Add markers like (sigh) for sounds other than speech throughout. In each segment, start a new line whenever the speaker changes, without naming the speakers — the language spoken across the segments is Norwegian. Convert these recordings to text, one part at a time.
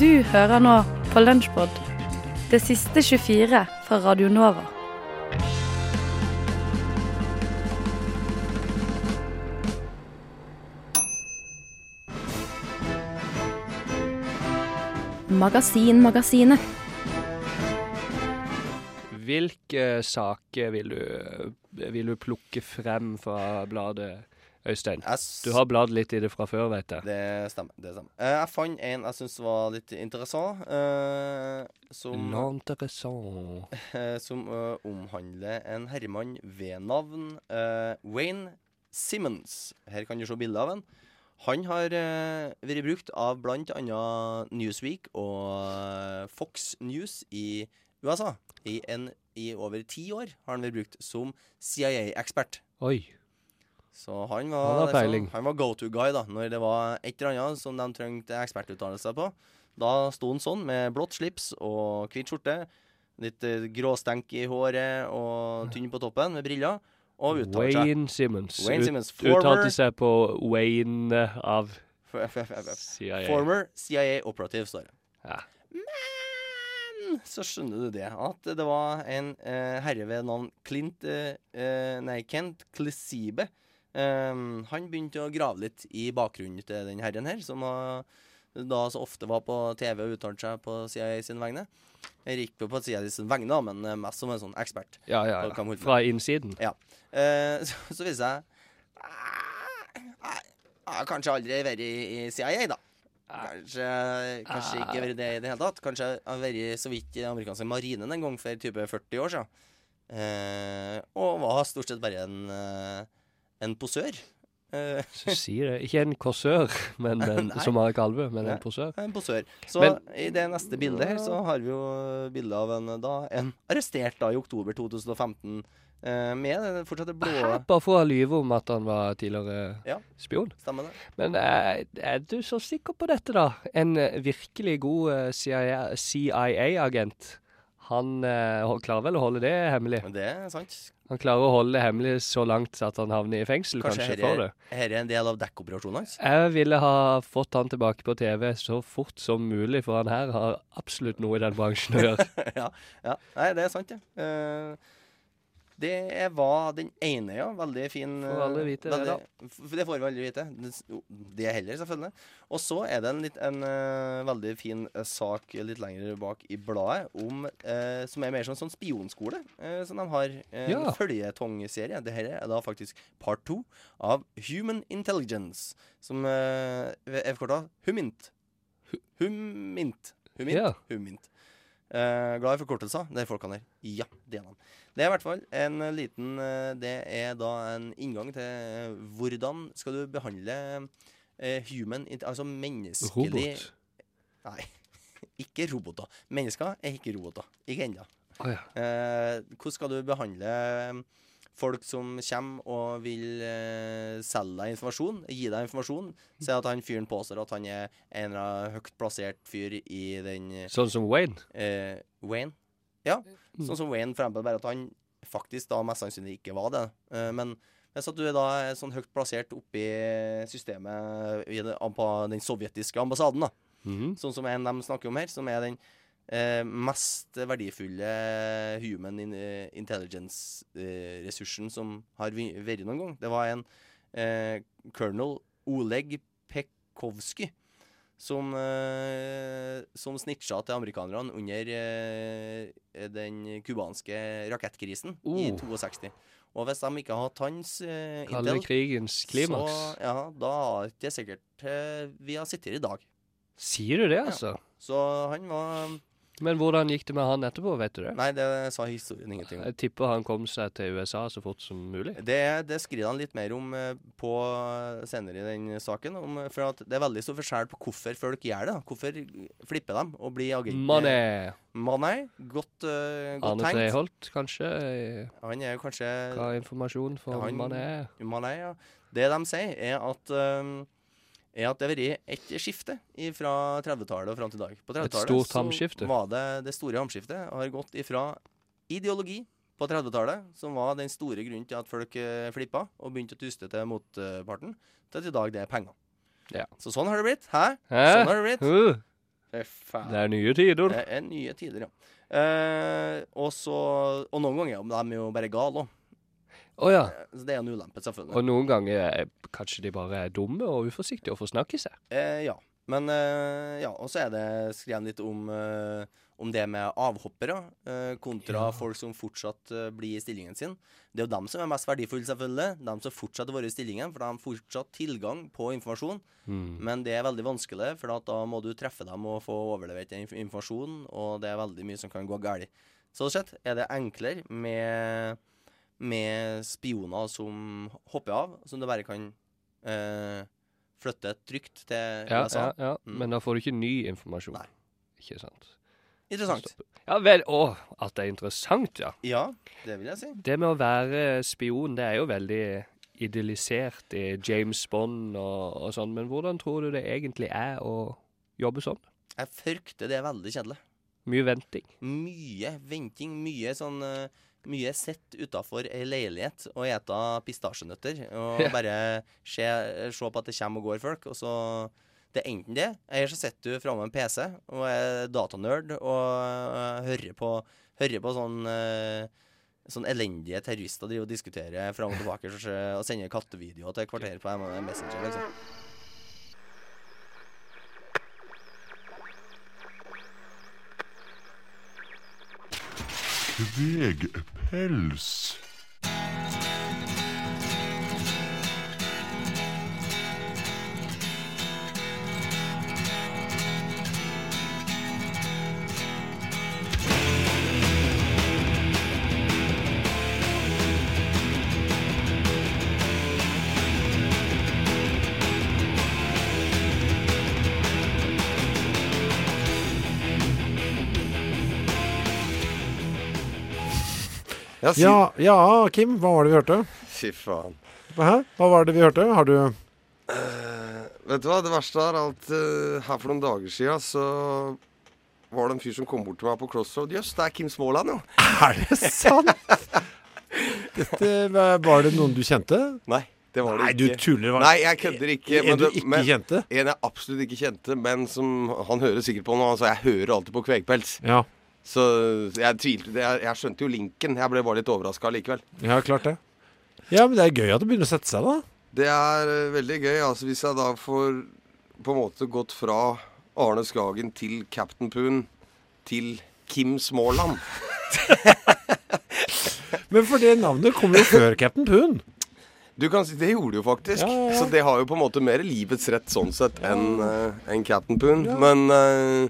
Du hører nå på Lunsjpod, det siste 24 fra Radio Nova.
Magasinmagasinet.
Hvilke saker vil du, vil du plukke frem fra bladet, Øystein?
Jeg s-
Du har bladd litt i det fra før, vet jeg.
Det stemmer. det stemmer Eh, Jeg fant en jeg syntes var litt interessant, eh, som,
L'interessant.
(laughs) eh, som eh, omhandler en herremann ved navn eh, Wayne Simmons. Her kan du se bilde av han. Han har eh, vært brukt av bl.a. Newsweek og eh, Fox News i USA. I, en, I over ti år har han vært brukt som CIA-ekspert.
Oi.
Så
Han
han
har
var,
peiling.
liksom, han var go-to-guy da Når det var et eller annet som de trengte ekspertuttalelser på Da sto han sånn med blått slips og kvitt skjorte Litt eh, gråstenk i håret og tynn på toppen med briller Og uttalte seg
Wayne Simmons.
Wayne
Ut-
Simmons, former-
Uttalte seg på Wayne av CIA.
Former CIA-operativ står det
Ja.
Men så skjønner du det At det var en eh, herre ved navn Clint eh, eh, Nei, Kent Klesibe Ehm, han begynte å grave litt i bakgrunnen til den herren her, som har- da så ofte var på TV og uttalte seg på CIA sin vegne. Jeg gikk på på CIA sin vegne, da, men eh, mest som en sånn ekspert.
Ja, ja,
Da kan
ja.
man-
Fra innsiden.
Ja. Eh, (laughs) så, så viser jeg Jeg har kanskje aldri vært i, i CIA, da. Kanskje, kanskje ikke vært det i det hele tatt. Kanskje jeg har vært så vidt i den amerikanske marinen en gang for type 40 år siden. Eh, og var stort sett bare en, eh, en posør. Eh, (laughs)
Så sier det. Ikke en korsør, men en,
Nei.
som har kalve, men
Nei.
en posør.
En posør. Så
Men-
i det neste bildet her så har vi jo bilde av en, da, en arrestert da i oktober 2015 eh, med den fortsatt det blå
Hæ? Bare for å lyve om at han var tidligere
Ja.
spion.
Stemmer det?
Men eh, er du så sikker på dette, da? En eh, virkelig god eh, CIA CIA-agent. Han eh, hol- klarer vel å holde det hemmelig?
Men det er sant.
Han klarer å holde det hemmelig så langt at han havner i fengsel, kanskje,
Kanskje
for
dette
det.
er en del av dekkoperasjonen hans?
Jeg ville ha fått han tilbake på TV så fort som mulig, for han her har absolutt noe i den bransjen
(laughs)
å gjøre.
ja, ja. Nei, det er sant, ja. Eh, det var den ene, ja. Veldig fin eh,
Får vi aldri vite det,
veldig, f- Det får vi aldri vite. Det s- jo, Det heller, selvfølgelig. Og så er det en, litt, en eh, veldig fin eh, sak litt lenger bak i bladet om eh, Som er mer sånn, sånn spionskole, eh, som de har. eh,
Ja.
En føljetongserie. Det her er da faktisk part to av Human Intelligence, som eh, ved FKT Humint. Hu- Humint. Humint.
Ja.
Humint. Eh, glad i forkortelser, det er folkene her. Ja, det er de. Det er i hvert fall en liten eh, Det er da en inngang til eh, hvordan skal du behandle eh, human int- Altså menneskelig
Robot.
Nei, ikke roboter. Mennesker er ikke roboter. Ikke ennå.
Å ja.
Eh, hvordan skal du behandle eh, folk som kommer og vil eh, selge deg informasjon? Gi deg informasjon? Si at han fyren påstår at han er en eller annen høyt plassert fyr i den eh,
Sånn som Wayne.
eh, Wayne. Ja,
Mm.
sånn som Wayne for eksempel, bare at han faktisk da mest sannsynlig ikke var det. Eh, men hvis at du er da er sånn høyt plassert oppi systemet i det, på den sovjetiske ambassaden, da,
Mhm.
sånn som en de snakker om her, som er den eh, mest verdifulle human in, eh, intelligence-ressursen som har vi- vært noen gang. Det var en eh, colonel Oleg Pekovsky som, eh, som snitcha til amerikanerne under eh, den kubanske rakettkrisen i
Oh.
62. Og hvis de ikke hadde hatt hans eh,
Kalde
intel,
krigens klimaks.
så ja, da er det sikkert eh, vi har sittet her i dag.
Sier du det, altså?
Så han var
Men hvordan gikk det med han etterpå, vet du det?
Nei, det sa historien ingenting om.
Jeg tipper han kom seg til USA så fort som mulig.
Det, det skriver han litt mer om eh, på senere i den saken. Om, eh, for at det er veldig stor forskjell på hvorfor folk gjør det. da. Hvorfor flipper de og blir agenter.
Mané!
Mané, Godt, eh, godt
Arne
tenkt.
Treholt, kanskje?
Han er jo kanskje
Hva er informasjon for
Han-
Mané?
Mané, ja. Det de sier, er at eh, er at det har vært et skifte fra 30-tallet og fram til i dag. På 30-tallet
stort
så
hamskifte.
var det det store hamskiftet. Har gått ifra ideologi på 30-tallet, som var den store grunnen til at folk eh, flippa og begynte å tuste til motparten, til at i dag det er penger.
Ja.
Så sånn har Eh. det blitt. Hæ?
Hæ?
Sånn har det blitt.
Uh,
Fy faen.
Det er nye tider.
Det er nye tider, ja. Eh, og så Og noen ganger er de jo bare gale òg.
Å ja.
Så det er en ulempe, selvfølgelig.
Og noen ganger er kanskje de bare er dumme og uforsiktige og forsnakker seg.
Eh, ja. Men eh, ja, og så er det skrevet litt om, eh, om det med avhoppere eh,
Ja.
kontra folk som fortsatt eh, blir i stillingen sin. Det er jo dem som er mest verdifulle, selvfølgelig. De som fortsetter å være i stillingen, for de har fortsatt tilgang på informasjon.
Mm.
Men det er veldig vanskelig, for at da må du treffe dem og få overlevert den inf- informasjonen, og det er veldig mye som kan gå galt. Så sett er det enklere med, med spioner som hopper av, som du bare kan eh, flytte trygt til
Ja,
USA.
ja, ja.
Mm.
Men da får du ikke ny informasjon.
Nei.
Ikke sant.
Interessant.
Ja vel. Å, at det er interessant, ja.
Ja, det vil jeg si.
Det med å være spion, det er jo veldig idealisert i James Bond og, og sånn, men hvordan tror du det egentlig er å jobbe sånn?
Jeg frykter det er veldig kjedelig.
Mye venting.
Mye venting, mye sånn eh, mye sett utafor ei leilighet og ete pistasjenøtter. Og
Ja.
bare se, se på at det kommer og går folk. Og så Det er enten det, eller så sitter du framme ved en PC og er datanerd og eh, hører på, hører på sånn eh, Sånn elendige terrorister driver og diskuterer fram og tilbake og så- og sender kattevideoer til kvarteret på M&M Messenger. liksom
Kvegpels.
Ja, si,
Ja, ja, Kim, hva var det vi hørte?
Fy faen.
Hæ? Hva var det vi hørte? Har du
Eh, vet du hva, det verste er at eh, her for noen dager sia så var det en fyr som kom bort til meg på Crossroad. Jøss, det er Kim Småland, jo.
Er det sant? Dette, var det noen du kjente?
Nei, det var det
Nei, du
ikke.
tuller. Var
Nei, jeg kødder ikke.
en du
det-
ikke
men,
kjente?
en jeg absolutt ikke kjente, men som han hører sikkert på nå. Altså, jeg hører alltid på Kvegpels.
Ja,
Så jeg tvilte Jeg, jeg skjønte jo linken. Jeg ble bare litt overraska likevel.
ja, klart det. Ja, men det er gøy at det begynner å sette seg, da.
Det er eh, veldig gøy. Altså, hvis jeg da får på en måte gått fra Arne Skagen til Captain Poon til Kim Småland
Men for det navnet kommer jo før Captain Poon.
Du kan si, Det gjorde det jo faktisk.
Ja, ja, ja.
Så det har jo på en måte mer livets rett sånn sett enn eh, enn Captain Poon. Men eh,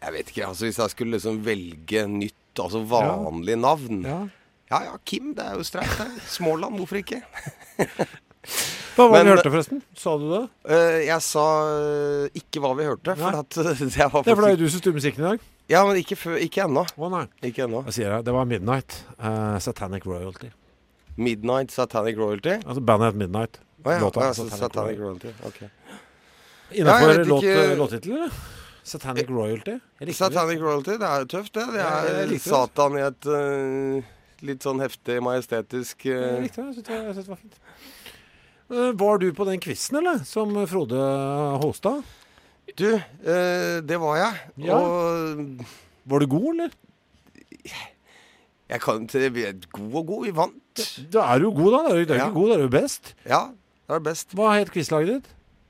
jeg vet ikke. altså Hvis jeg skulle liksom velge nytt, altså vanlig navn ja.
Ja.
ja Kim. Det er jo streit, det. Småland, hvorfor ikke?
Hva var det vi
Men-
hørte, forresten? Sa du det?
Eh, jeg sa eh, ikke hva vi hørte, for
Nei.
at (laughs) eh, det var
Det er for det
faktisk
er jo du som styrer musikken i dag.
Ja, men ikke, før- ikke ennå.
Å nei.
Ikke ennå.
Hva sier jeg? Det var Midnight. eh, Satanic Royalty.
Midnight Satanic Royalty.
Altså bandet het Midnight.
Å ja,
Låta
ja, så
Satanic
Satanic Royalty. ok.
Innafor
vet
låt,
ikke-
låttittel, eller? Satanic Royalty. Jeg likte det.
Satanic Royalty, det er jo tøft, det. Det
Ja,
er
jeg likte det.
Satan i et eh, litt sånn heftig, majestetisk
Jeg
eh,
likte det. Jeg syntes det, var- jeg syntes det var fint. Eh, Var du på den quizen, eller? Som Frode hosta?
Du, eh, det var jeg.
Ja.
Og
Var du god, eller?
jeg kan til vi er God og god, vi vant.
Da er du jo god, da. Da er du, da er du
Ja.
ikke god, da er du best.
Ja, det er best.
Hva het quizlaget ditt?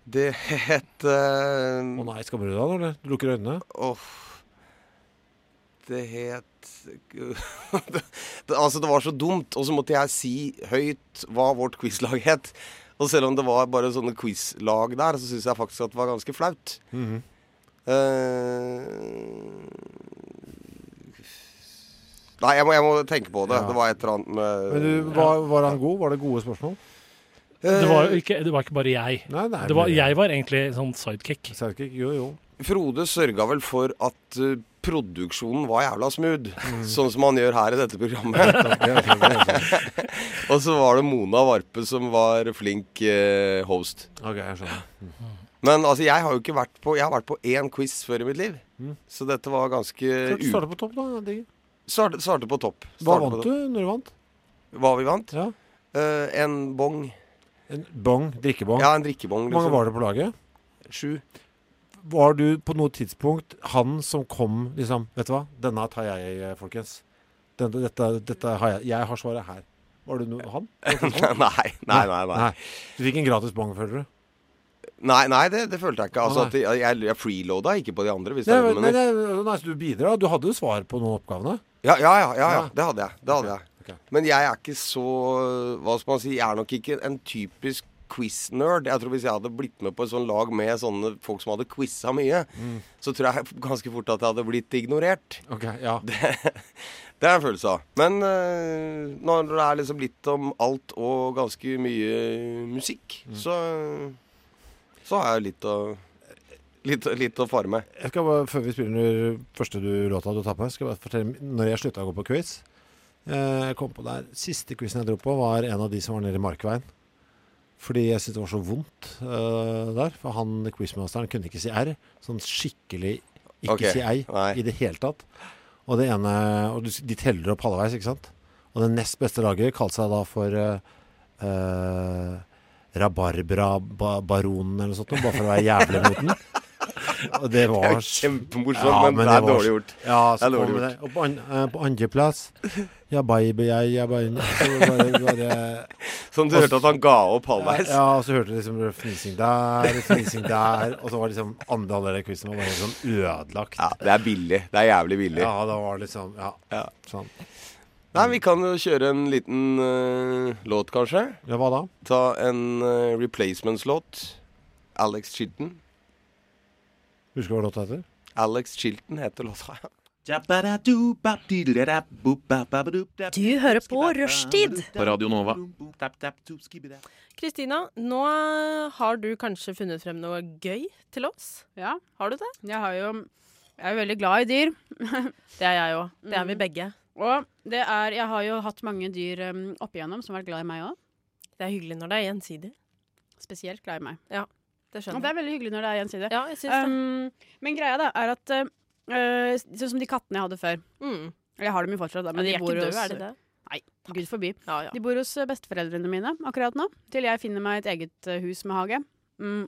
Det het
Å
eh,
nei, skammer du deg nå, eller? Du lukker øynene.
Åh Det het (laughs) det, Altså, det var så dumt, og så måtte jeg si høyt hva vårt quizlag het. Og selv om det var bare sånne quizlag der, så syns jeg faktisk at det var ganske flaut.
Mhm.
Eh, Nei, jeg må, jeg må tenke på det.
Ja.
Det var et eller annet med
Men du, var, var han god? Var det gode spørsmål?
Det var
Eh,
jo ikke, det var ikke bare jeg.
Nei, nei.
Det var, jeg var egentlig sånn sidekick.
Sidekick, jo, jo.
Frode sørga vel for at eh, produksjonen var jævla smooth,
Mhm.
sånn som han gjør her i dette
(laughs)
programmet.
Det er fint, det er fint.
Og så var det Mona Varpe som var flink eh, host.
Ok, jeg skjønner.
Men altså, jeg har jo ikke vært på Jeg har vært på én quiz før i mitt liv.
Mm.
Så dette var ganske
Klart
Eh,
du
u-
starter på topp, da. Digger.
Starte, starte på topp.
Hva
Starte på
vant
topp.
du når du vant?
Hva vi vant?
Ja.
Eh, en bong.
En bong? Drikkebong?
Ja, en drikkebong. liksom.
Hvor mange var det på laget?
Sju.
var du på noe tidspunkt han som kom liksom Vet du hva, denne tar jeg, eh, folkens. Denne, dette, dette har jeg. Jeg har svaret her. Var du no han?
nei, (laughs) nei, nei. nei.
Du fikk en gratis bong, føler du?
Nei, nei, det, det følte jeg ikke. Altså,
Nei.
at jeg, jeg, jeg freeloada ikke på de andre. Hvis det er
Nei,
det du
nei,
mener.
nei, nei, så du bidrar. Du hadde jo svar på noen av oppgavene.
Ja, ja, ja, ja, ja.
Ja.
Det hadde jeg. Det hadde jeg.
Ok.
Men jeg er ikke så Hva skal man si? Jeg er nok ikke en typisk quiz-nerd. Jeg tror Hvis jeg hadde blitt med på et sånt lag med sånne folk som hadde quiza mye, så tror jeg (laughs) ganske fort at jeg hadde blitt ignorert.
Ok, ja.
Det er en følelse av. Men eh, når det er liksom litt om alt og ganske mye musikk,
Mm.
så, så har jeg litt å, litt, litt å fare med.
Jeg skal bare, Før vi spiller den første du låta du tar på, skal jeg bare fortelle når jeg slutta å gå på quiz. Eh, Jeg kom på der, Siste quizen jeg dro på, var en av de som var nede i Markveien. Fordi jeg syntes det var så vondt eh, der. For han quizmasteren kunne ikke si R. Sånn skikkelig ikke
Ok,
si ei
nei.
i det hele tatt. Og det ene, og du- de teller opp halvveis, ikke sant? Og det nest beste laget kalte seg da for eh, eh, Rabarbra-baronen eller noe sånt, noe, bare for å være jævlig mot den. Og
(laughs)
det
Det er
var
jo kjempemorsomt,
Ja,
men,
men
det
det
er
var-
dårlig gjort.
Ja,
Det
så
er dårlig
kommer
gjort.
det. Og på, an, eh, på andreplass Ja, baby, jeg, jeg bare, så bare,
(laughs)
bare
Som du hørte at han ga opp halvveis.
Ja, og så hørte du liksom fnising der, fnising der. Og så var liksom andre halvdel av quizen var bare helt sånn ødelagt.
Ja, det er billig. Det er jævlig billig.
Ja, da var det liksom Ja.
Ja.
Sånn.
Nei, vi kan jo kjøre en liten eh, låt, kanskje.
Ja, hva da?
Ta en eh, replacements-låt. Alex Chilton.
Husker du hva låta heter?
Alex Chilton heter låta.
Du
Du hører på Rushtid
på Radio Nova.
Kristina, nå har du kanskje funnet frem noe gøy til oss?
Ja,
Har du det?
jeg, har jo, jeg er jo veldig glad i dyr.
Det er jeg òg. Det er vi
Mm.
begge.
Og det er, jeg har jo hatt mange dyr um, opp igjennom som har vært glad i meg òg.
Det er hyggelig når det er gjensidig.
Spesielt glad i meg.
Det
Og
skjønner
det
jeg.
er veldig hyggelig når det er gjensidig.
Ja, jeg syns det.
Um, men greia da er at uh, øh, Sånn som de kattene jeg hadde før.
Mm.
Eller jeg har dem jo fortsatt, da,
Men
men
de er
de bor
ikke
hos
døde, er de det?
Gud forby.
Ja, ja.
De bor hos eh, besteforeldrene mine akkurat nå, til jeg finner meg et eget eh, hus med hage. Mm.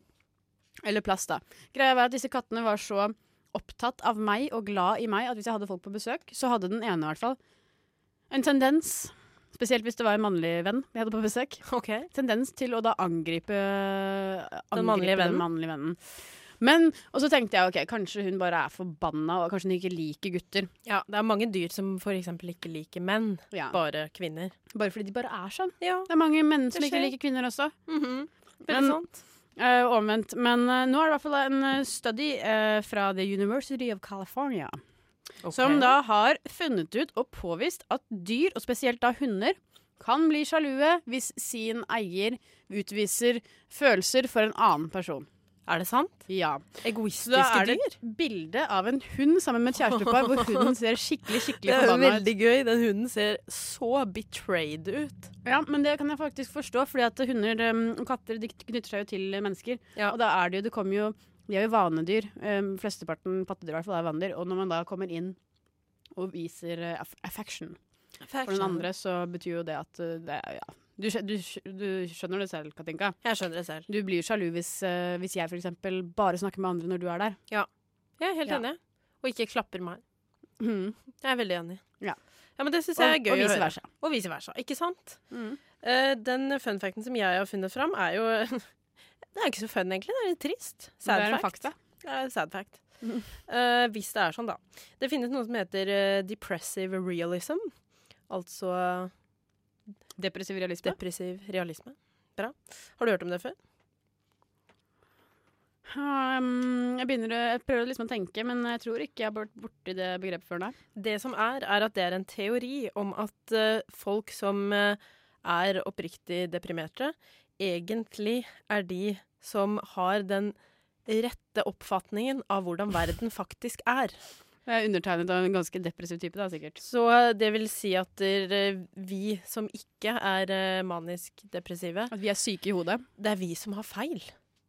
Eller plass, da. Greia var at disse kattene var så opptatt av meg og glad i meg at hvis jeg hadde folk på besøk, så hadde den ene i hvert fall en tendens, spesielt hvis det var en mannlig venn jeg hadde på besøk,
(laughs) OK.
tendens til å da angripe angripe
mannlige vennen?
Den mannlige vennen. Men, og så tenkte jeg ok, kanskje hun bare er forbanna, og kanskje hun ikke liker gutter.
Ja, det er mange dyr som f.eks. ikke liker menn,
Ja.
bare kvinner.
Bare fordi de bare er sånn.
Ja.
Det er mange menn som
Det
ikke
skjer.
liker kvinner også.
Veldig
Men-
sant.
Eh, omvendt. Men eh, nå er det i hvert fall en eh, study eh, fra The University of California
Ok.
som da har funnet ut og påvist at dyr, og spesielt da hunder, kan bli sjalue hvis sin eier utviser følelser for en annen person.
Er det sant?
Ja. Så
Egoistiske
da er det
dyr?
et bilde av en hund sammen med et kjærestepar hvor hunden ser skikkelig
(laughs) Det
skikkelig
er jo
forbanna ut.
veldig gøy. Den hunden ser så betrayed ut.
Ja, men det kan jeg faktisk forstå, fordi at hunder eh, og katter de knytter seg jo til eh, mennesker.
Ja.
Og da er det jo, det kommer jo De er jo vanedyr. Um, flesteparten pattedyr i hvert fall er vanedyr. Og når man da kommer inn og viser eh, aff affection for den andre, så betyr jo det at eh, det er Ja. Du, skjø- du, skjø- du skjønner det selv, Katinka.
Jeg skjønner det selv.
Du blir sjalu hvis, eh, hvis jeg for eksempel bare snakker med andre når du er der.
Jeg er helt
Ja.
enig. Og ikke klapper meg.
Mhm.
Jeg er veldig enig.
Ja.
men det syns jeg er
Og-
gøy
og
å
vice
høre.
versa.
Og vice versa. Ikke sant?
Mhm.
Eh, den fun facten som jeg har funnet fram, er jo (laughs) Det er ikke så fun, egentlig. Det er litt trist. Sad
Det er en
fact.
fakta.
Det er sad fact.
Mhm.
Eh, hvis det er sånn, da. Det finnes noe som heter eh, depressive realism. Altså
Depressiv realisme.
depressiv realisme. Bra. Har du hørt om det før?
Um, jeg, begynner, å- jeg prøver liksom å tenke, men jeg tror ikke jeg har vært borti det begrepet før nå.
Det som er, er at det er en teori om at eh, folk som eh, er oppriktig deprimerte, egentlig er de som har den rette oppfatningen av hvordan verden faktisk er.
Jeg er undertegnet av en ganske depressiv type, da, sikkert.
Så det vil si at eh, vi som ikke er eh, manisk depressive,
At vi er syke i hodet.
det er vi som har feil.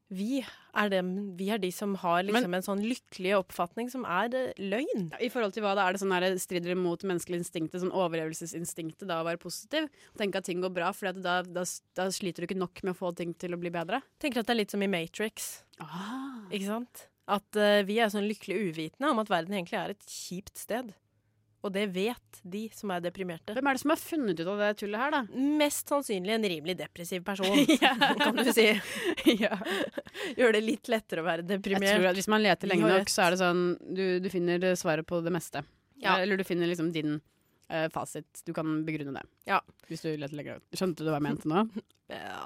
Vi er, dem, vi er de som har liksom en sånn lykkelig oppfatning som er eh, løgn.
I forhold til hva da er det sånn her, strider det mot menneskelig instinktet, sånn overlevelsesinstinktet da å være positiv? Tenke at ting går bra, for da, da, da sliter du ikke nok med å få ting til å bli bedre?
Tenker at det er litt som i Matrix,
Ah.
ikke sant? At eh, vi er sånn lykkelig uvitende om at verden egentlig er et kjipt sted. Og det vet de som er deprimerte.
Hvem er det som har funnet ut av det tullet her, da?
Mest sannsynlig en rimelig depressiv person, (laughs)
Ja.
kan du si. (laughs) Gjør det litt lettere å være deprimert.
Jeg tror at Hvis man leter lenge
Vi har
nok, så er det sånn du, du finner eh, svaret på det meste.
Ja.
Eller du finner liksom din eh, fasit. Du kan begrunne det.
Ja.
Hvis du leter lenge nok. Skjønte du hva jeg mente nå?
(laughs) Ja.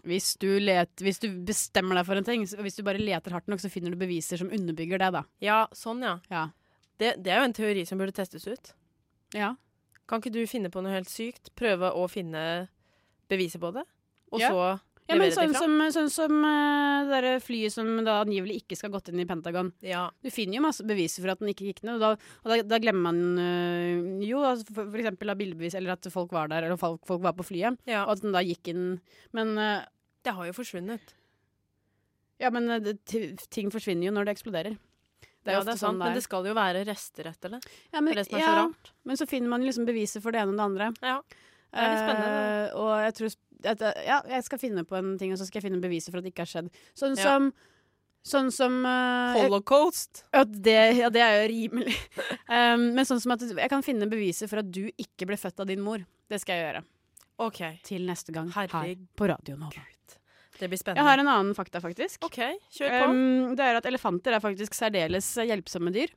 Hvis du, let, hvis du bestemmer deg for en ting, så- hvis du bare leter hardt nok, så finner du beviser som underbygger det, da.
Ja, sånn ja. Det, det er jo en teori som burde testes ut.
Ja.
Kan ikke du finne på noe helt sykt? Prøve å finne beviset på det? Og
Ja.
så
Ja, men
levere
sånn
det
som,
fram?
sånn som eh, det der flyet som da angivelig ikke skal ha gått inn i Pentagon. Du finner jo masse beviser for at den ikke gikk ned, og da, og da, da glemmer man eh, jo altså for, for eksempel av bildebevis, eller at folk var der, eller folk, folk var på flyet, og at den da gikk inn. Men eh,
Det har jo forsvunnet.
Ja, men eh, det, ti- ting forsvinner jo når det eksploderer. Det er
ja,
jo ofte
det er sant,
sånn
men det skal jo være rester etter det.
Ja, men,
det er det som er
ja,
så rart.
men så finner man jo liksom beviser for det ene og det andre.
Det er litt spennende.
Eh, og jeg tror sp- at, eh, Ja, jeg skal finne på en ting, og så skal jeg finne beviser for at det ikke har skjedd. Sånn
Ja.
som Sånn som eh, jeg-
Holocaust.
Ja det, ja, det er jo rimelig. (laughs) Um, men sånn som at jeg kan finne beviser for at du ikke ble født av din mor. Det skal jeg gjøre.
Ok.
Til neste gang
Herregud.
her på Radio Nova.
Det blir spennende.
Jeg har en annen fakta, faktisk.
Ok, kjør på.
Um, det er at elefanter er faktisk særdeles hjelpsomme dyr.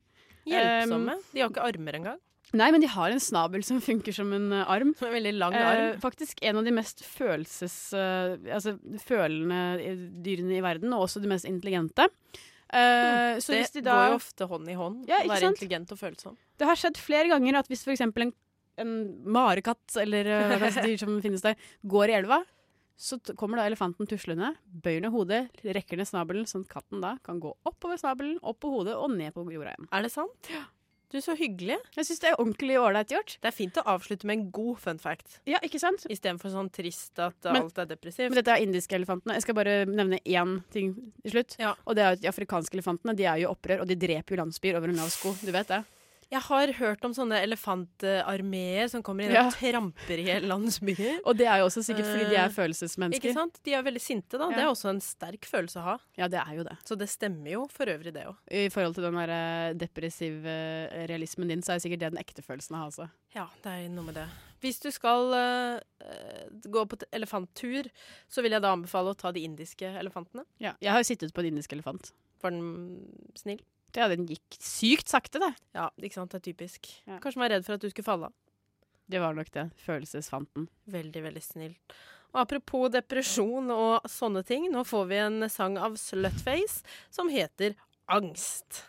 Hjelpsomme.
Um,
De har ikke armer engang.
Nei, men de har en snabel som funker som en eh, arm.
Som en veldig lang arm.
Eh, faktisk en av de mest følelses... eh, altså følende i- dyrene i verden, og også de mest intelligente. Eh, så
Hmm, det
hvis de da
går jo ofte hånd i hånd.
Ja, ikke
være
sant?
intelligent og følsom.
Det har skjedd flere ganger at hvis for eksempel en, en marekatt, eller eh, hva slags dyr som (laughs) finnes der, går i elva, så t- kommer da elefanten tuslende, bøyer ned hodet, rekker ned snabelen, sånn at katten da kan gå oppover snabelen, opp på hodet og ned på jorda igjen.
Er det sant? Du, så hyggelig.
Jeg syns det er ordentlig ålreit gjort.
Det er fint å avslutte med en god fun fact.
Ja, ikke sant?
Istedenfor sånn trist at
Men-
alt er
Men
depressivt.
dette er indiske elefantene. Jeg skal bare nevne én ting til slutt.
Ja.
Og det er at de afrikanske elefantene de er jo i opprør, og de dreper jo landsbyer over en lav sko. Du vet det?
Jeg har hørt om sånne elefantarmeer som kommer inn
Ja.
og tramper i hele landsbyer.
Og det er jo også sikkert fordi de
Eh,
er følelsesmennesker.
Ikke sant? De er veldig sinte, da.
Ja.
Det er også en sterk følelse å ha.
Ja, det er jo det.
Så det stemmer jo for øvrig, det òg.
I forhold til den der eh, depressive eh, realismen din, så er sikkert det den ekte følelsen av, altså.
Ja, det er noe med det. Hvis du skal eh, eh, gå på t- elefanttur, så vil jeg da anbefale å ta de indiske elefantene.
Jeg har jo sittet på en indisk elefant.
Var den snill?
Ja, den gikk sykt sakte, det.
Ja, ikke sant? Det er typisk.
Ja.
Kanskje den var redd for at du skulle falle av.
Det var nok det. Følelsesfanten.
Veldig, veldig snilt. Og apropos depresjon og sånne ting, nå får vi en sang av Slutface som heter Angst.